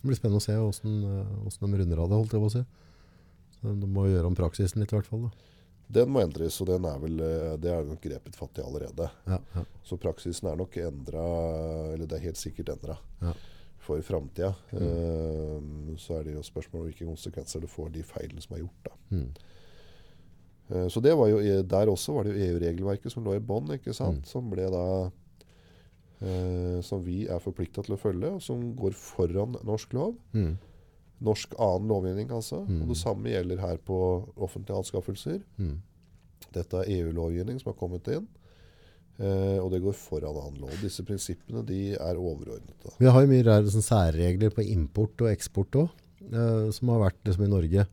S2: Det blir spennende å se hvordan, eh, hvordan de runder av det, holdt jeg på å si. Så de må gjøre om praksisen litt i hvert fall. Da.
S1: Den må endres, og den er vel, eh, det er nok grepet fatt i allerede.
S2: Ja, ja.
S1: Så praksisen er nok endra, eller det er helt sikkert endra
S2: Ja.
S1: for framtida. Eh, så er det jo spørsmål om hvilke konsekvenser det får de feilene som er gjort. da.
S2: Mm.
S1: Eh, Så det var jo, Der også var det jo EU-regelverket som lå i bånn, ikke sant?
S2: Mm.
S1: som ble da eh, Som vi er forplikta til å følge, og som går foran norsk lov.
S2: Mm.
S1: Norsk annen lovgivning, altså.
S2: Mm.
S1: Og det samme gjelder her på offentlige anskaffelser.
S2: Mm.
S1: Dette er EU-lovgivning som har kommet inn. Eh, og det går foran annen lov. Disse prinsippene de er overordnet. Da.
S2: Vi har jo mye rare sånn, særregler på import og eksport òg, som har vært liksom, i Norge.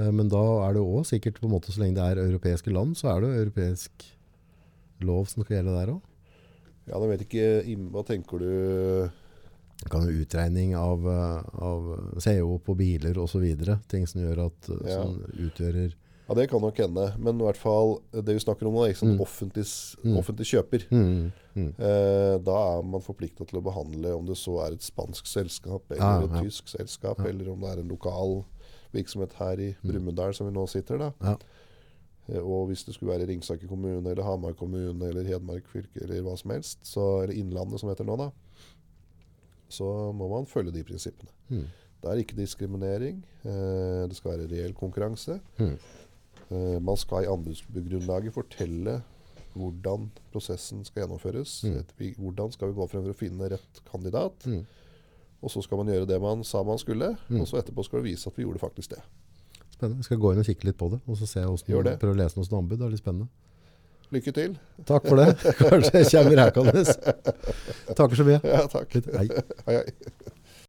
S2: Eh, men da er det òg sikkert på en måte så lenge det er europeiske land, så er det jo europeisk lov som skal gjelde der òg.
S1: Ja, jeg vet ikke, Im, Hva tenker du
S2: kan jo utregning av, eh, av CO på biler og så videre, ting som gjør at eh,
S1: Ja.
S2: som utgjører
S1: Ja, Det kan nok hende. Men i hvert fall, det vi snakker om nå, er ikke sånn
S2: Mm.
S1: offentlig, s-
S2: Mm.
S1: offentlig kjøper.
S2: mm, mm,
S1: Eh, da er man forplikta til å behandle om det så er et spansk selskap
S2: Ja,
S1: eller et
S2: ja.
S1: tysk selskap,
S2: Ja. Mm.
S1: eller om det er en lokal virksomhet her i Brumunddal som vi nå sitter. da.
S2: Ja.
S1: Eh, Og hvis det skulle være Ringsaker kommune eller Hamar kommune eller Hedmark fylke eller hva som helst, så, eller Innlandet som det heter nå, da, så må man følge de prinsippene.
S2: mm,
S1: Det er ikke diskriminering. Eh, det skal være reell konkurranse.
S2: mm,
S1: Eh, Man skal i anbudsgrunnlaget fortelle hvordan prosessen skal gjennomføres.
S2: Mm.
S1: Et- vi- Hvordan skal vi gå frem for å finne rett kandidat?
S2: mm.
S1: Og så skal man gjøre det man sa man skulle,
S2: Mm.
S1: og så etterpå skal det vise at vi gjorde faktisk det.
S2: Spennende. Jeg skal gå inn og kikke litt på det, og så se hvordan,
S1: Gjør det.
S2: prøve å lese noe sånt anbud. Det er litt spennende.
S1: Lykke til.
S2: Takk for det. Kanskje jeg kommer her, Kalnes. Takker så mye.
S1: Ja, takk.
S2: Litt, hei.
S1: Hei, hei.